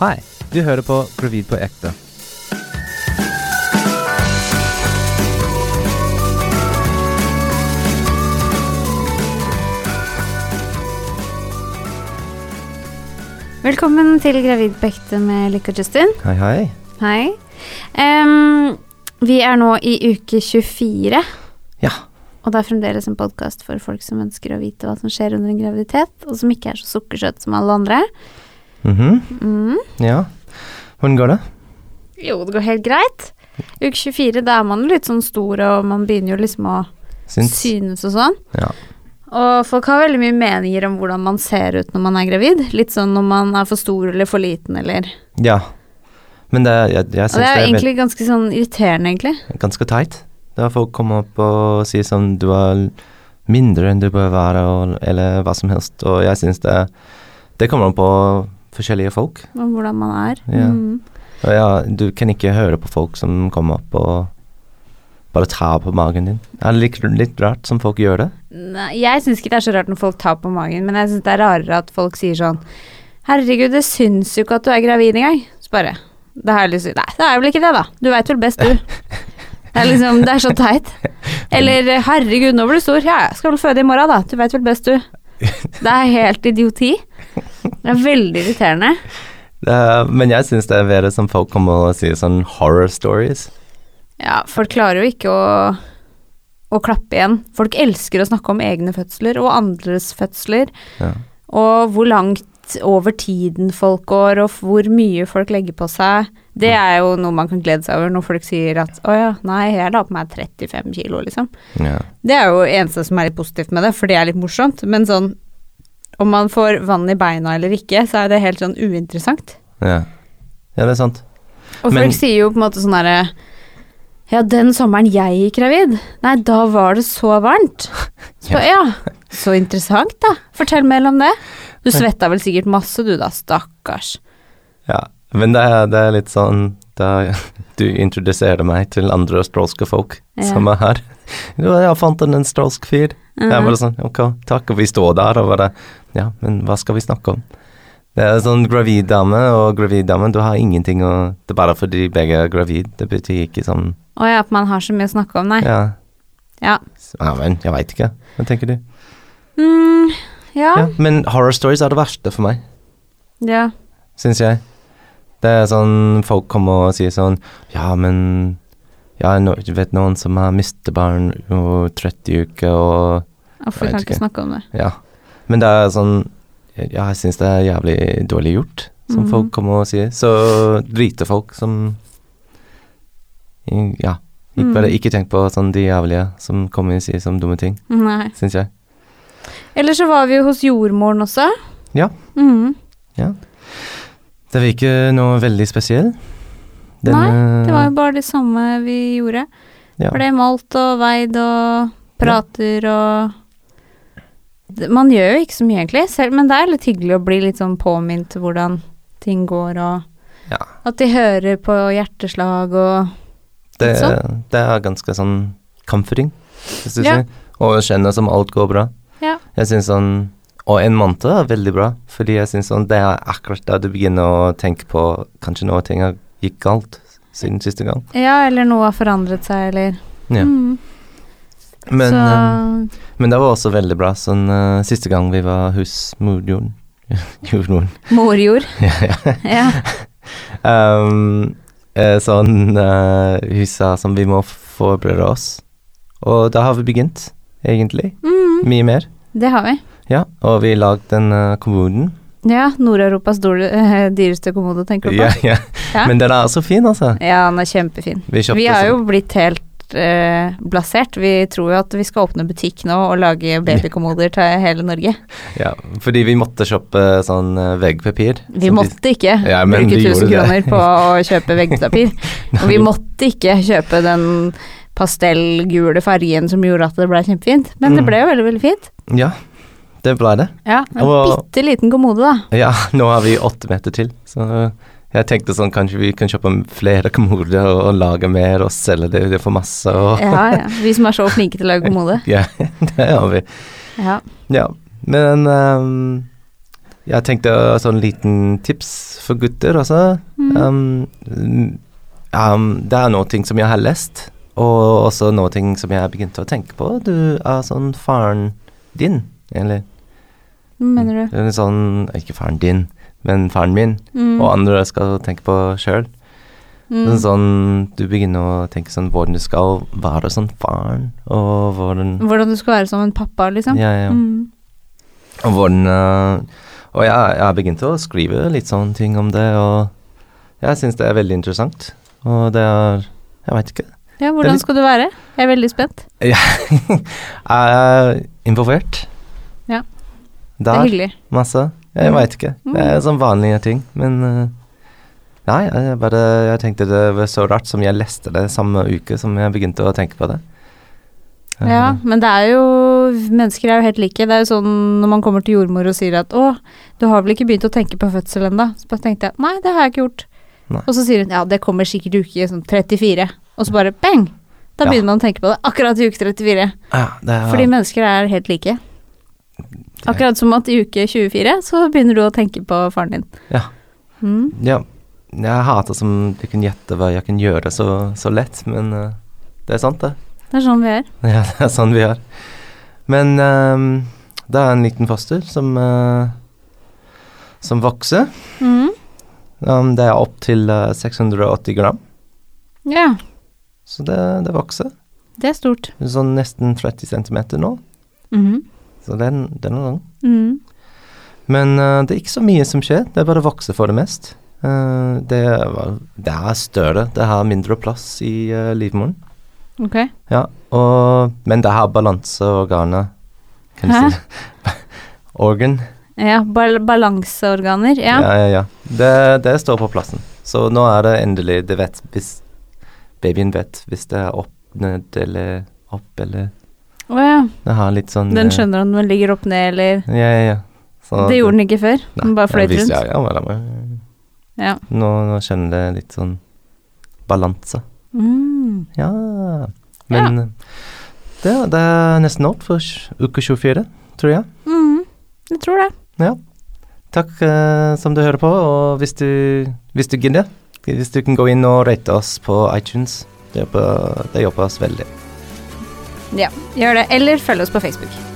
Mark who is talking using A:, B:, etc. A: Hei, du hører på Gravid på ekte.
B: Velkommen til Gravid på ekte med Lykke og Justin.
A: Hei, hei.
B: Hei. Em, vi er nå i uke 24,
A: Ja.
B: og det er fremdeles en podkast for folk som ønsker å vite hva som skjer under en graviditet, og som ikke er så sukkersøt som alle andre.
A: Mhm,
B: Mm.
A: Ja. Hvordan går det?
B: Jo, det går helt greit. Uke 24, da er man litt sånn stor, og man begynner jo liksom å
A: Syns?
B: synes og sånn.
A: Ja.
B: Og folk har veldig mye meninger om hvordan man ser ut når man er gravid. Litt sånn når man er for stor eller for liten eller
A: ja. Men det, jeg, jeg
B: Og det
A: syns
B: er jo
A: det er
B: egentlig ganske sånn irriterende, egentlig.
A: vel- ganske teit. Da folk kommer opp og sier sånn du er mindre enn du bør være, og, eller hva som helst. Og jeg syns det Det kommer an på forskjellige folk.
B: Om hvordan man er.
A: Ja.
B: Mm.
A: Og ja, du kan ikke høre på folk som kommer opp og bare tar på magen din. Det er litt, litt rart som folk gjør det.
B: Nei, jeg syns ikke det er så rart når folk tar på magen, men jeg syns det er rarere at folk sier sånn Herregud, det syns jo ikke at du er gravid engang. Så bare Det har jeg lyst til Nei, det er vel ikke det, da. Du veit vel best, du. Det er liksom Det er så teit. Eller herregud, nå ble du stor. Ja, ja, skal vel føde i morgen, da. Du veit vel best, du. Det er helt idioti. Det er veldig irriterende.
A: det er- Eh, men jeg syns det er bedre som folk kommer og sier sånn horror stories.
B: Ja, folk klarer jo ikke å å klappe igjen. Folk elsker å snakke om egne fødsler og andres fødsler.
A: Ja.
B: Og hvor langt over tiden folk går, og f- hvor mye folk legger på seg. Det er jo noe man kan glede seg over når folk sier at 'Å ja, nei, jeg la på meg 35 kilo', liksom.
A: Ja.
B: Det er jo eneste som er litt positivt med det, for det er litt morsomt. Men sånn om man får vann i beina eller ikke, så er det helt sånn uinteressant.
A: Ja. ja, det er sant.
B: Og
A: Men-
B: folk sier jo på en måte sånn herre Ja, den sommeren jeg gikk gravid, nei, da var det så varmt. Så
A: Ja.
B: ja. så interessant, da. Fortell mer om det. Du svetta vel sikkert masse du, da. Stakkars.
A: Ja. Men det er, det er litt sånn da Du introduserer meg til andre australske folk
B: Ja.
A: som er her. Jo, jeg fant en australsk fyr. Jeg er
B: Mhm.
A: bare sånn Ok, takk. Og vi står der og bare Ja, men hva skal vi snakke om? Det er sånn gravid dame og gravid dame, du har ingenting å Det er bare fordi begge er gravid, det betyr ikke sånn
B: Å ja, at man har så mye å snakke om, nei. Ja.
A: Ja,
B: Ja.
A: ja men jeg veit ikke. Hva tenker du?
B: Mm, ja.
A: Ja, men horror stories er det verste for meg,
B: ja.
A: syns jeg. Det er sånn folk kommer og sier sånn Ja, men Ja, no, du vet noen som har mistet barn og 30 uker og
B: Hvorfor
A: Jeg
B: kan
A: vet
B: ikke
A: ikke.
B: snakke om det?
A: Ja. Men det er sånn Ja, jeg syns det er jævlig dårlig gjort, som
B: Mhm.
A: folk kommer og sier. Så driter folk som Ja. Ikke, bare,
B: Mhm.
A: ikke tenk på sånn de jævlige som kommer og sier sånne dumme ting,
B: Nei.
A: syns jeg.
B: Eller så var vi jo hos jordmoren også.
A: Ja.
B: Mhm.
A: Det var ikke noe veldig spesiell.
B: Nei, Det var jo bare det samme vi gjorde.
A: ja.
B: Ble målt og veid og prater og Det- Man gjør jo ikke så mye, egentlig, selv, men det er litt hyggelig å bli litt sånn påminnet hvordan ting går, og
A: Ja.
B: at de hører på hjerteslag og
A: Det,
B: Ikke
A: det er ganske sånn comforting, hvis du
B: Ja.
A: sier. Og kjenne som alt går bra.
B: Ja.
A: Jeg synes sånn Og en måned er veldig bra, fordi jeg synes sånn det er akkurat da du begynner å tenke på kanskje noe ting har gikk galt siden siste gang.
B: Ja, eller noe har forandret seg, eller
A: Ja.
B: Mm.
A: Men, eh,
B: Så
A: men det var også veldig bra sånn eh, siste gang vi var hos morjoren. Jordmoren.
B: morjord.
A: ja, ja.
B: Ja.
A: Um, eh, sånn eh, hun sa som vi må forberede oss. Og da har vi begynt, egentlig.
B: Mm,
A: Mye mer.
B: det har vi.
A: Ja, og vi lagde den uh, kommoden.
B: Ja, Nord-Europas dårlig- eh, dyreste kommode, tenker du på?
A: Ja, ja.
B: Ja.
A: Men den er så fin, altså.
B: Ja, den er kjempefin.
A: Vi kjøpte
B: Vi har
A: sånn-
B: jo blitt helt eh, blasert. Vi tror jo at vi skal åpne butikk nå og lage babykommoder til hele Norge.
A: sånn- ja, Fordi vi måtte kjøpe sånn eh, veggpapir.
B: Vi
A: som
B: måtte ikke
A: Ja, men
B: bruke
A: vi gjorde
B: 1000
A: det.
B: kroner på å kjøpe veggpapir. Og vi måtte ikke kjøpe den pastellgule fargen som gjorde at det ble kjempefint. Men det
A: Mm.
B: ble jo veldig, veldig fint.
A: Ja, det ble det.
B: Ja, En
A: Og-
B: bitte liten kommode, da.
A: Ja, nå har vi åtte meter til, så jeg tenkte sånn kanskje vi kan kjøpe flere kommoder og, og lage mer og selge det, det for masse og
B: Ja, ja. Vi som er så flinke til å lage kommode.
A: Ja, det har vi.
B: Ja.
A: Ja, men ehm, Jeg tenkte sånn liten tips for gutter også.
B: Mm.
A: Um, um, det er noe ting som jeg har lest, og også noe ting som jeg har begynt å tenke på. Du er sånn faren din, egentlig.
B: Hva mener du?
A: Eller sånn, ikke faren din, men faren min,
B: Mm.
A: og andre skal tenke på sjøl.
B: Mm.
A: Sånn, du begynner å tenke sånn hvordan du skal være sånn faren, og hvordan
B: Hvordan du skal være som en pappa, liksom.
A: Ja, ja.
B: Mm.
A: Og hvordan eh, Og jeg, jeg har begynt å skrive litt sånne ting om det, og jeg syns det er veldig interessant. Og det er Jeg veit ikke.
B: ja,
A: Det er
B: hvordan
A: litt-
B: skal du være? Jeg er veldig spent.
A: Jeg er involvert.
B: Ja. Det er
A: Der.
B: hyggelig. Mm.
A: Masse. Jeg veit ikke. Det er sånn vanlige ting, men eh, Nei, jeg bare Jeg tenkte det var så rart som jeg leste det samme uke som jeg begynte å tenke på det. Eh,
B: Ja, men det er jo Mennesker er jo helt like. Det er jo sånn når man kommer til jordmor og sier at 'Å, du har vel ikke begynt å tenke på fødsel ennå?' Så bare tenkte jeg 'Nei, det har jeg ikke gjort'.
A: Nei.
B: Og så sier hun 'Ja, det kommer sikkert i uke sånn 34', og så bare bang! Da
A: Ja.
B: begynner man å tenke på det akkurat i uke 34.
A: ja, det er,
B: Fordi mennesker er helt like. Akkurat som at i uke 24 så begynner du å tenke på faren din.
A: Ja.
B: Mm.
A: Ja. Jeg hater som du kan gjette hva jeg kan gjøre så, så lett, men eh, det er sant, det.
B: Det er sånn vi er.
A: Ja, det er sånn vi er. Men ehm, det er en liten foster som, eh, som vokser.
B: Mm.
A: Um, det er opptil uh, 680 gram,
B: Ja,
A: så det, det vokser.
B: det er stort.
A: Sånn nesten 30 centimeter nå,
B: Mhm.
A: så den, den er lang.
B: Mm.
A: Men eh, det er ikke så mye som skjer, det er bare vokser for det mest. Eh, det, er, vel- det er større, det har mindre plass i eh, livmoren.
B: Ok.
A: Ja, og, men det har balanseorganet, kan du
B: Hæ?
A: si. Organ.
B: Ja, bal balanseorganer. Ja.
A: Ja, ja, ja. Det, det står på plassen. Så nå er det endelig Det vet hvis Babyen vet hvis det er opp, ned eller opp eller
B: Å ja.
A: Det har litt sånn
B: Den
A: eh,
B: skjønner om den ligger opp ned, eller
A: Ja, ja, ja. Så
B: Det gjorde den ikke før.
A: Nei,
B: Den bare
A: ja,
B: fløyt
A: hvis-
B: rundt.
A: Ja, ja, bare- bare-
B: Ja.
A: nå, nå kjenner det litt sånn balanse.
B: Mm.
A: Ja. Men eh, Det, det er nesten opp for sj- uke 24, tror jeg.
B: Mm. Jeg tror det.
A: Takk eh, som du hører på, og hvis du, hvis du gidder, hvis du kan gå inn og rate oss på iTunes, det hjelper, det hjelper oss veldig.
B: Ja, gjør det. Eller følg oss på Facebook.